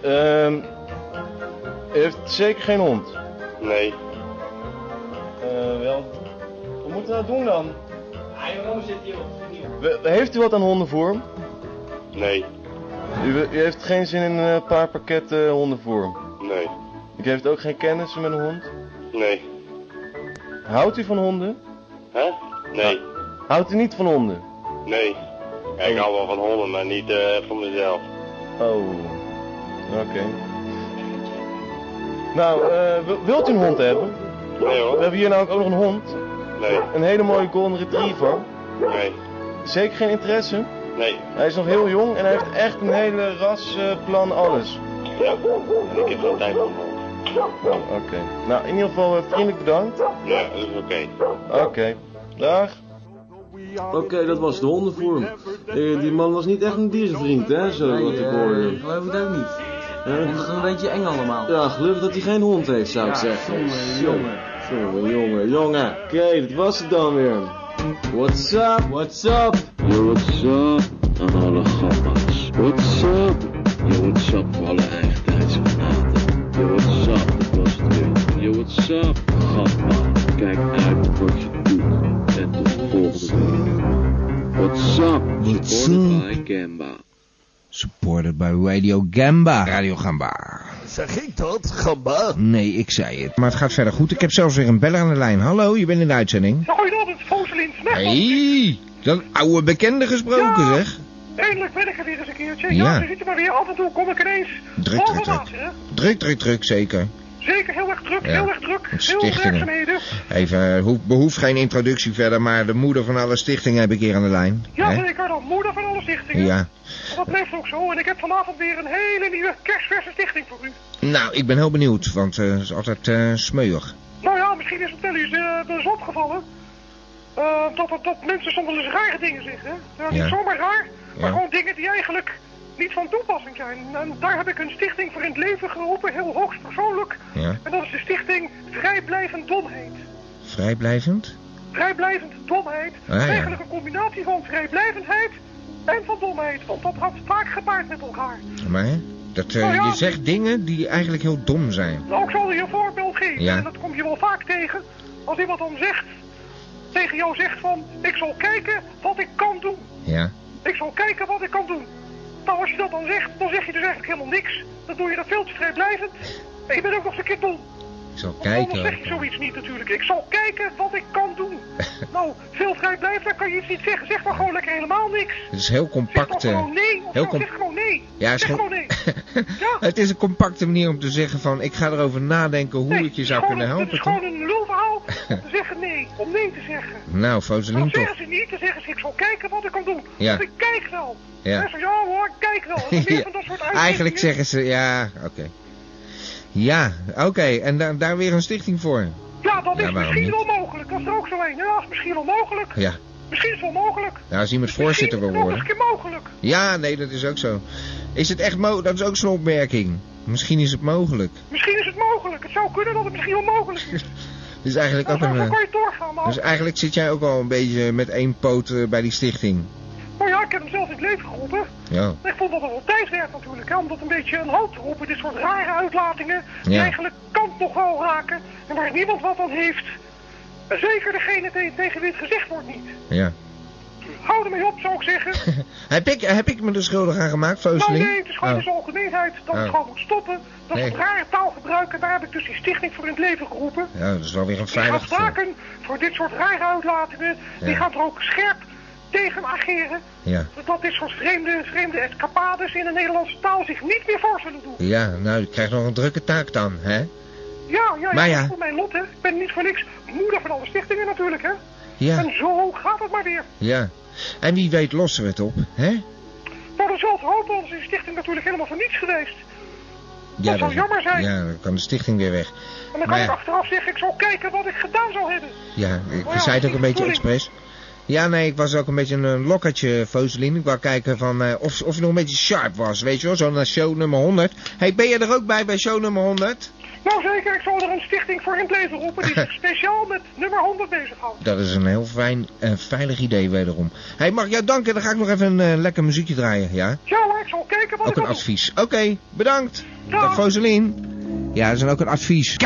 Ehm, u heeft zeker geen hond.
Nee.
Eh, wel. Wat moeten we nou doen dan?
Hij waarom zit hier op?
We- heeft u wat aan hondenvoer?
Nee.
U, u heeft geen zin in een paar pakketten hondenvoer.
Nee.
Ik heeft ook geen kennis met een hond.
Nee.
Houdt u van honden?
Hè? Nee.
Houdt u niet van honden?
Nee. Ja, ik hou wel van honden, maar niet eh voor mezelf.
Oh. Oké. Nou, eh, wil- wilt u een hond hebben?
Nee
We
hoor.
hebben hier namelijk ook nog een hond.
Nee.
Een hele mooie golden retriever.
Nee.
Zeker geen interesse.
Nee.
Hij is nog heel jong en hij heeft echt een hele ras, eh, plan, alles.
Ja. En ik heb geen tijd voor een hond.
Oh, oké. Nou, in ieder geval eh, vriendelijk bedankt.
Ja, dat is oké.
Oké. Dag.
Oké, dat was de hondenvoer. Eh, die man was niet echt een dierenvriend, hè, zo wat ik hoorde.
geloof het ook niet.
Hè?
Het is een beetje eng allemaal.
Ja, gelukkig dat hij geen hond heeft, zou ik
Ja,
zeggen.
jongen,
Zo.
jongen.
Jongen, jongen, jongen. Oké, dat was het dan weer. What's up? What's up?
Yo, what's up aan alle gamma's? What's up? Yo, what's up voor alle eigentijdse fanaten? Yo, what's
up, gamma? Kijk uit wat je doet. En tot volgende week. What's up?
What's
Supported by Gamba.
Supported by Radio Gamba. Radio Gamba.
Zeg ik dat, gamba?
Nee, ik zei het. Maar het gaat verder goed. Ik heb zelfs weer een beller aan de lijn. Hallo, je bent in de uitzending.
Goedenavond, Foselin Smet.
hey, dat oude bekende gesproken
Ja.
zeg.
Eindelijk ben ik er weer eens een keertje.
Ja.
Ja, je ziet er maar weer. Af en toe kom ik ineens.
Druk, druk,
Overmaat,
druk.
hè?
Druk, druk, druk, zeker.
Zeker, heel erg druk,
Ja,
heel erg druk.
met
Heel veel
stichtingen.
werkzaamheden.
Even, eh, hoeft- behoeft geen introductie verder, maar de moeder van alle stichtingen heb ik hier aan de lijn.
Ja,
Hè?
zeker, de moeder van alle stichtingen.
Ja.
Dat blijft ook zo. En ik heb vanavond weer een hele nieuwe kerstverse stichting voor u.
Nou, ik ben heel benieuwd, want eh, het is altijd eh smeuig.
Nou ja, misschien is het wel eens, eh, wel eens opgevallen. eh, dat, dat, dat mensen soms wel eens rare dingen zeggen. Nou, niet
Ja.
zomaar raar, maar
Ja.
gewoon dingen die eigenlijk niet van toepassing zijn. En daar heb ik een stichting voor in het leven geroepen, heel hoogst persoonlijk.
Ja.
En dat is de stichting Vrijblijvend Domheid.
Vrijblijvend?
Vrijblijvend domheid.
Ah, ja.
Eigenlijk een combinatie van vrijblijvendheid en van domheid. Want dat gaat vaak gepaard met elkaar.
Maar dat, eh,
Oh ja.
je zegt dingen die eigenlijk heel dom zijn.
Nou, ik zal je een voorbeeld geven.
Ja.
En dat kom je wel vaak tegen. Als iemand dan zegt, tegen jou zegt van, ik zal kijken wat ik kan doen.
Ja.
Ik zal kijken wat ik kan doen. Nou, als je dat dan zegt, dan zeg je dus eigenlijk helemaal niks. Dan doe je dat veel te vrijblijvend. En je bent ook nog eens een keer dom.
Ik zal
Want Anders zeg je
kijken.
zoiets niet natuurlijk. Ik zal kijken wat ik kan
[LAUGHS]
doen. nou, veel vrijblijvend kan je iets niet zeggen. Zeg maar gewoon lekker helemaal niks.
Het is heel
Of
compact. eh,
gewoon nee. Of
heel
zo.
com-
zeg gewoon nee.
Ja, het is
zeg
gewoon-
gewoon nee.
het is een compacte manier om te zeggen van... ik ga erover nadenken [LAUGHS] hoe ik je zou kunnen
Het is
helpen, toch?
gewoon een lulverhaal
[LAUGHS]
om te zeggen nee. Om nee te zeggen.
Nou, Foselien
Dan
toch.
zeggen ze niet, dan zeggen ze ik zal kijken wat ik kan doen.
Ja.
Want ik kijk wel.
Ja.
En zo, ja hoor, ik kijk wel. En
[LAUGHS]
dan weer van dat soort uitdrukkingen.
Eigenlijk zeggen ze, ja, oké. Ja, oké, en da- daar weer een stichting voor.
Ja, dat is
Ja, waarom
misschien
niet?
wel mogelijk. Dat is er ook zo een. Ja, dat is misschien wel mogelijk.
Ja,
Misschien is het wel mogelijk.
nou, als iemand voorzitter wil
Nog eens een
worden.
keer mogelijk.
Ja, nee, dat is ook zo. Is het echt mogelijk? Dat is ook zo'n opmerking. Misschien is het mogelijk.
Misschien is het mogelijk. Het zou kunnen dat het misschien wel mogelijk is. Nou,
Dat is eigenlijk ook een...
Dan kan
eh,
je doorgaan. Maar,
Dus eigenlijk zit jij ook al een beetje met één poot eh, bij die stichting.
maar ja, ik heb hem zelf in het leven geroepen.
Ja.
Ik vond dat het wel tijd werd natuurlijk, hè, om dat een beetje een hoop te roepen. Dit soort rare uitlatingen, die
Ja.
eigenlijk kant nog wel raken en waar niemand wat aan heeft. En zeker degene te- tegen wie het gezegd wordt niet.
Ja.
Hou ermee op, zou ik
[LAUGHS]
zeggen.
Heb ik, heb ik me er schuldig aan gemaakt,
nou
Foseling?
nee, het is gewoon
Oh.
de algemeenheid dat
Oh.
het gewoon moet stoppen. Dat
Nee.
het rare taal gebruiken, daar heb ik dus die stichting voor in het leven geroepen.
Ja, dat is wel weer een
Die gaat
veilig gevoel.
staken voor dit soort rare uitlatingen. Die
Ja.
gaat er ook scherp tegen ageren.
Ja.
Dat dit soort vreemde, vreemde escapades in de Nederlandse taal zich niet meer voor zullen doen.
Ja, nou, je krijgt nog een drukke taak dan, hè?
Ja, ja,
Maar
ja,
ja.
dat is voor mijn lot, hè. Ik ben niet voor niks moeder van alle stichtingen natuurlijk, hè.
Ja,
En zo gaat het maar weer.
ja. En wie weet lossen we het op, hè?
Maar dan zal het hopen, anders is de stichting natuurlijk helemaal voor niets geweest.
Ja,
zou jammer zijn.
Ja, dan kan de stichting weer weg.
En dan kan
Maar
ik
ja.
achteraf zeggen, ik zal kijken wat ik gedaan zou hebben.
Ja, ik
Maar Oh ja,
zei het ook
die
een beetje
bedoeling.
expres. Ja, nee, ik was ook een beetje een lokkertje, Foseline. Ik wou kijken van, eh, of, of je nog een beetje sharp was, weet je wel? Zo naar show nummer 100. hey, ben je er ook bij, bij show nummer 100?
Nou zeker, ik zal er een stichting voor in het leven roepen
[LAUGHS]
die zich speciaal met nummer 100 bezighoudt.
Dat is een heel fijn en veilig idee wederom. Hé, hey, mag ik jou danken? Dan ga ik nog even een eh, lekker muziekje draaien, ja?
Ja hoor, ik zal
Oh,
kijken
Ook
wat ik
een
kan doen.
advies. Oké, bedankt. Dag Foseline. Ja, dat is dan ook een advies.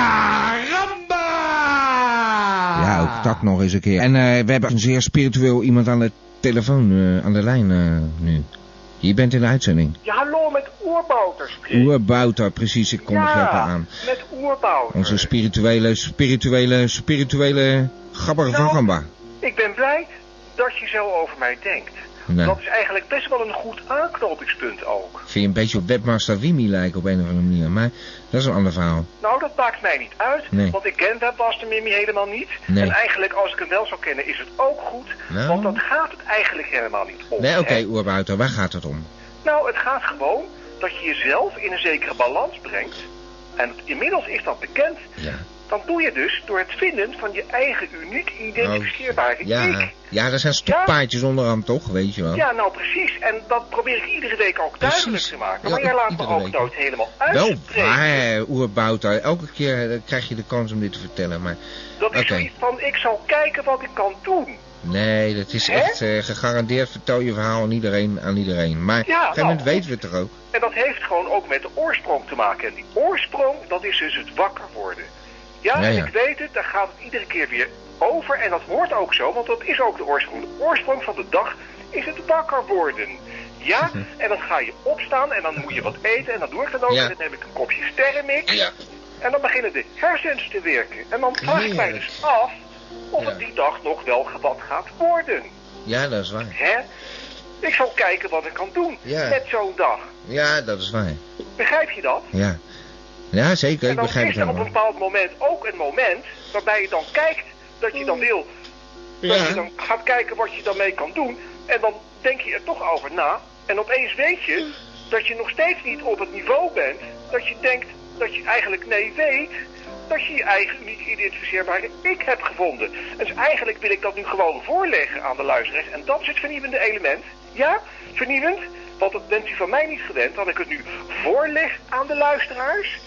Ja, ook dat nog eens een keer. En eh, we hebben een zeer spiritueel iemand aan de telefoon, eh, aan de lijn eh, nu. Je bent in de uitzending.
Ja, hallo met oerbouters.
Oerbouter, precies, ik kom er
ja,
even aan.
met oerbouters.
Onze spirituele, spirituele, spirituele gabber van
Nou.
gamba.
Ik ben blij dat je zo over mij denkt.
Nou. Dat
is eigenlijk best wel een goed aanknopingspunt ook.
Vind je een beetje op Webmaster Wimi lijken op een of andere manier, maar dat is een ander verhaal.
Nou, dat maakt mij niet uit,
Nee.
want ik ken Webmaster Mimi helemaal niet.
Nee.
En eigenlijk, als ik hem wel zou kennen, is het ook goed,
Nou.
want dat gaat het eigenlijk helemaal niet om.
Nee, oké,
hè.
Eh.
Oerbouter, waar gaat het om?
Nou, het gaat gewoon dat je jezelf in een zekere balans brengt. En inmiddels is dat bekend.
Ja.
Dan doe je dus door het vinden van je eigen uniek identificeerbare
Oh. Ja,
ik.
ja, dat zijn stokpaardjes onderhand toch, weet je wel.
Ja, nou precies. En dat probeer ik iedere week ook
Precies.
duidelijk te maken.
Ja,
Maar jij laat me
iedere
ook
week.
nooit helemaal
Wel
uitspreken.
waar, Oerbouter. Elke keer eh, krijg je de kans om dit te vertellen, maar...
Dat
Oké,
is zoiets van, ik zal kijken wat ik kan doen.
nee, dat is
Hè?
echt eh, gegarandeerd. Vertel je verhaal aan iedereen, aan iedereen. Maar op een
Ja,
gegeven moment
nou,
weten we het er ook.
En dat heeft gewoon ook met de oorsprong te maken. En die oorsprong, dat is dus het wakker worden.
Ja,
Ja,
en
ja.
ik weet het, daar gaat het iedere keer weer over. En dat hoort ook zo, want dat is ook de oorsprong. De oorsprong van de dag is het wakker worden.
[LAUGHS]
Ja, en dan ga je opstaan en dan moet je wat eten en dan doe ik dat ook.
Ja.
En dan heb ik een kopje sterrenmix.
Ja.
En dan beginnen de hersens te werken. En dan vraag ik mij dus af of het die dag nog wel gewat gaat worden.
Ja, dat is waar.
Hè? Ik zal kijken wat ik kan doen
Ja.
met zo'n dag.
Ja, dat is waar.
Begrijp je dat?
Ja. Ja, zeker.
En
Ik
dan
begrijp
is
het
er op een
helemaal.
bepaald moment ook een moment waarbij je dan kijkt dat je dan wil. Dat je dan gaat kijken wat je daarmee kan doen. En dan denk je er toch over na. En opeens weet je dat je nog steeds niet op het niveau bent. Dat je denkt dat je eigenlijk nee weet. Dat je je eigen uniek identificeerbare ik hebt gevonden. Dus eigenlijk wil ik dat nu gewoon voorleggen aan de luisteraars. En dat is het vernieuwende element. Ja, vernieuwend. Want dat bent u van mij niet gewend. Dat ik het nu voorleg aan de luisteraars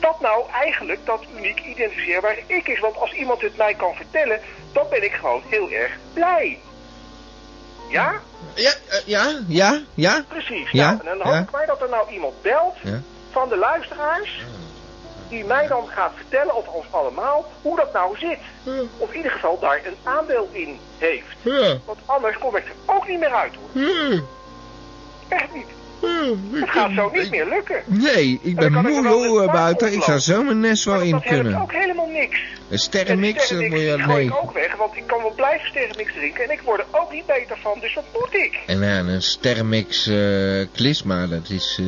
wat nou eigenlijk dat uniek identificeerbare ik is. Want als iemand het mij kan vertellen, dan ben ik gewoon heel erg blij. Ja?
Ja, eh, ja, ja, ja.
Precies.
Ja,
Nou, en dan hoop
ja.
ik maar dat er nou iemand belt
Ja.
van de luisteraars... die mij dan gaat vertellen, of ons allemaal, hoe dat nou zit. Of in ieder geval daar een aandeel in heeft.
Ja.
Want anders kom ik er ook niet meer uit, hoor. Echt niet. Het gaat zo niet meer lukken.
Nee, ik ben moe joh eh, buiten. Ik zou zo mijn nest wel in
Dat helpt
kunnen.
ook helemaal niks.
Een
En die
sterrenmix, dat moet
sterrenmix,
je...
die gooi
Nee.
ik ook weg, want ik kan wel blijven sterrenmix drinken en ik word er ook niet beter van, dus wat moet ik?
En ja, een sterrenmix eh klisma, dat is... eh,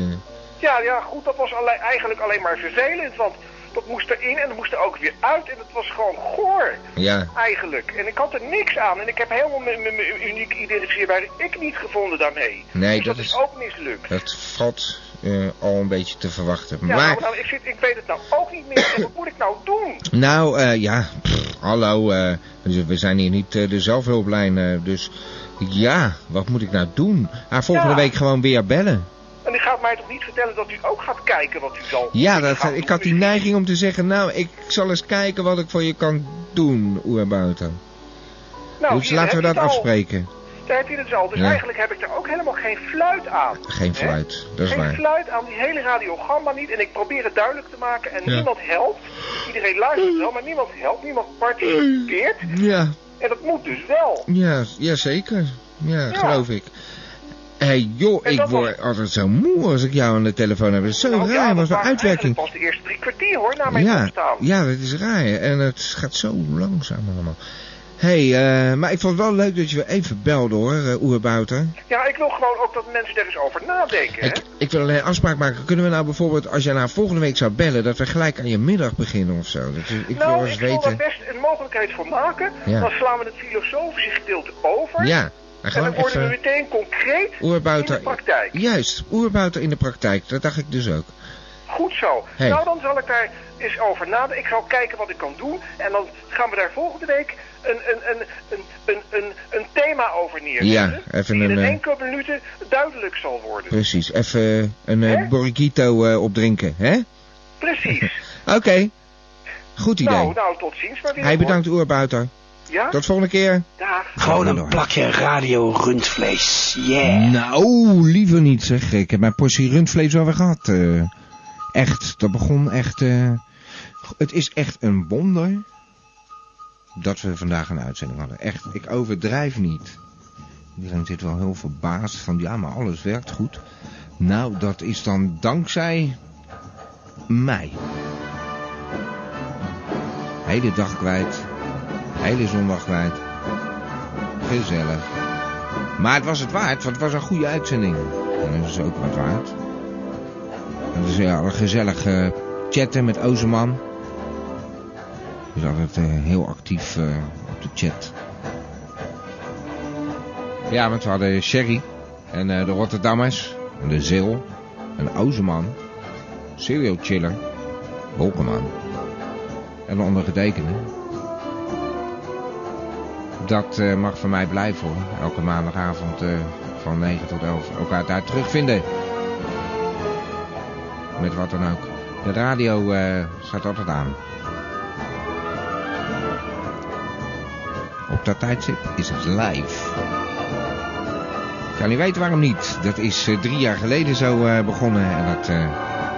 Ja, ja, goed, dat was alle- eigenlijk alleen maar vervelend, want dat moest erin en dat moest er ook weer uit en het was gewoon goor,
ja.
eigenlijk. En ik had er niks aan en ik heb helemaal mijn- mijn mijn uniek identificeerbare ik niet gevonden daarmee.
Nee,
dus
dat
dat is
is-
ook mislukt.
Dat valt eh, al een beetje te verwachten.
Ja, nou,
Maar,
nou, ik, zit, ik weet het nou ook niet meer. en Wat moet ik nou doen?
nou, eh, ja, pff, hallo, eh, dus we zijn hier niet eh, de zelfhulplijn, eh, dus ja, wat moet ik nou doen? Ah, volgende
Ja.
week gewoon weer bellen.
En u gaat mij toch niet vertellen dat u ook gaat kijken wat u zal
Ja, dat, ik had die neiging om te zeggen, nou, ik zal eens kijken wat ik voor je kan doen, Oerbouten.
Nou,
dus
hier
laten we dat
heb je het al.
afspreken.
Daar heb je het al. Dus
Ja.
eigenlijk heb ik er ook helemaal geen fluit aan.
Geen
Hè?
fluit, dat is
geen
waar.
fluit aan die hele radiogramma niet. En ik probeer het duidelijk te maken en
Ja.
niemand helpt. Iedereen luistert wel, maar niemand helpt. Niemand participeert.
Ja,
En dat moet dus wel.
ja, ja zeker. Ja, geloof ik. Hé hey, joh, ik word altijd zo moe als ik jou aan de telefoon heb. Dat is zo
Nou,
raar, maar zo'n uitwerking.
Pas de eerste drie kwartier hoor, na mijn
Ja,
opstaan.
ja, dat is raar. En het gaat zo langzaam allemaal. Hé, hey, eh, maar ik vond het wel leuk dat je weer even belde hoor, eh Oerbouter.
Ja, ik wil gewoon ook dat mensen er eens over nadenken. hè.
Ik, ik wil alleen een afspraak maken. Kunnen we nou bijvoorbeeld, als jij nou volgende week zou bellen, dat we gelijk aan je middag beginnen of zo? Dat, is- ik
nou,
wil eens
ik wil
weten.
daar best een mogelijkheid voor maken.
Ja.
Dan slaan we het filosofische gedeelte over.
Ja,
En
en
dan
gewoon
worden we
even
meteen concreet
Oerbouter.
in de praktijk.
Juist, Oerbouter in de praktijk. Dat dacht ik dus ook.
Goed zo.
Hey.
Nou, dan zal ik daar eens over nadenken. Ik zal kijken wat ik kan doen. En dan gaan we daar volgende week een, een, een, een, een, een, een thema over neerzetten.
Ja, even
die in
een, eh,
enkele minuten duidelijk zal worden.
[LAUGHS] Precies. Even een eh Borghito eh, opdrinken, hè?
Precies.
Oké. Goed idee.
Nou, nou, tot ziens. Maar weer,
Hij
hoor.
bedankt Oerbouter.
Ja?
Tot volgende keer.
Dag.
Gewoon
een plakje radio rundvlees. Yeah.
Nou, liever niet zeg. Ik heb mijn portie rundvlees alweer gehad. eh. echt, dat begon echt... eh, het is echt een wonder dat we vandaag een uitzending hadden. Echt, ik overdrijf niet. Iedereen zit wel heel verbaasd van, ja, maar alles werkt goed. Nou, dat is dan dankzij mij. Hele dag kwijt. Hele zondag kwijt. Gezellig. Maar het was het waard, want het was een goede uitzending. En dat is ook wat waard. En dus ja, een gezellig eh, chatten met Ozeman. Die is altijd eh, heel actief eh, op de chat. Ja, want we hadden Sherry en eh, de Rotterdammers en de Zil en Ozeman. Serial Chiller, Wolkenman en de ondergetekende. Dat eh, mag van mij blijven hoor. Elke maandagavond eh, van 9 tot 11 elkaar daar terugvinden. Met wat dan ook. De radio eh, staat altijd aan. Op dat tijdstip is het live. Ik kan niet weten waarom niet. Dat is eh, drie jaar geleden zo eh, begonnen. En dat eh,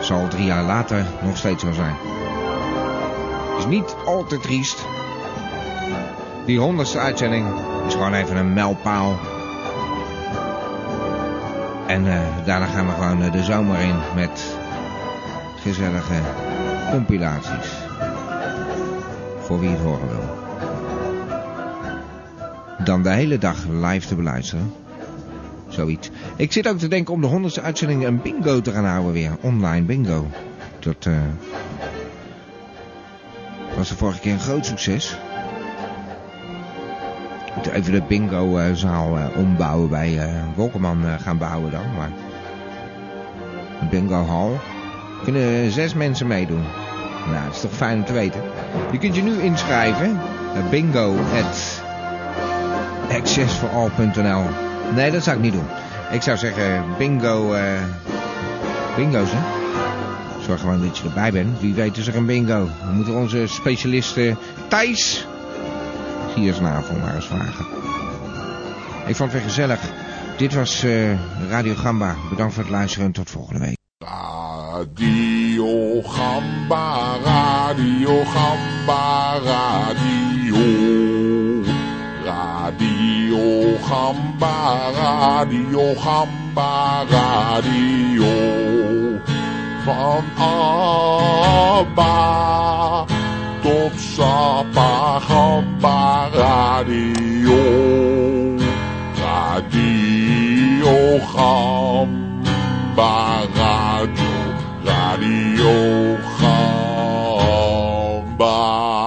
zal drie jaar later nog steeds zo zijn. is niet al te triest. Die honderdste uitzending is gewoon even een mijlpaal. En eh, daarna gaan we gewoon eh, de zomer in met gezellige compilaties. Voor wie het horen wil. Dan de hele dag live te beluisteren. Zoiets. Ik zit ook te denken om de honderdste uitzending een bingo te gaan houden weer. Online bingo. Dat eh, was de vorige keer een groot succes. Moet Even de bingo-zaal ombouwen bij eh, Wolkerman eh, gaan bouwen dan. Maar een bingo hall. Er kunnen zes mensen meedoen. Nou, dat is toch fijn om te weten. Je kunt je nu inschrijven. naar bingo at accessforall.nl Nee, dat zou ik niet doen. Ik zou zeggen bingo... eh bingo's, hè? Zorg gewoon dat je erbij bent. Wie weet is er een bingo. We moeten onze specialiste Thijs Giersnavel maar eens vragen. Ik vond het weer gezellig. Dit was eh, Radio Gamba. Bedankt voor het luisteren en tot volgende week.
Radio Gamba, Radio Gamba, Radio. Radio Gamba, Radio Gamba, Radio. Van Abba tot Sapa Gamba, Radio. Radio Gamba, Radio, Radio Gamba.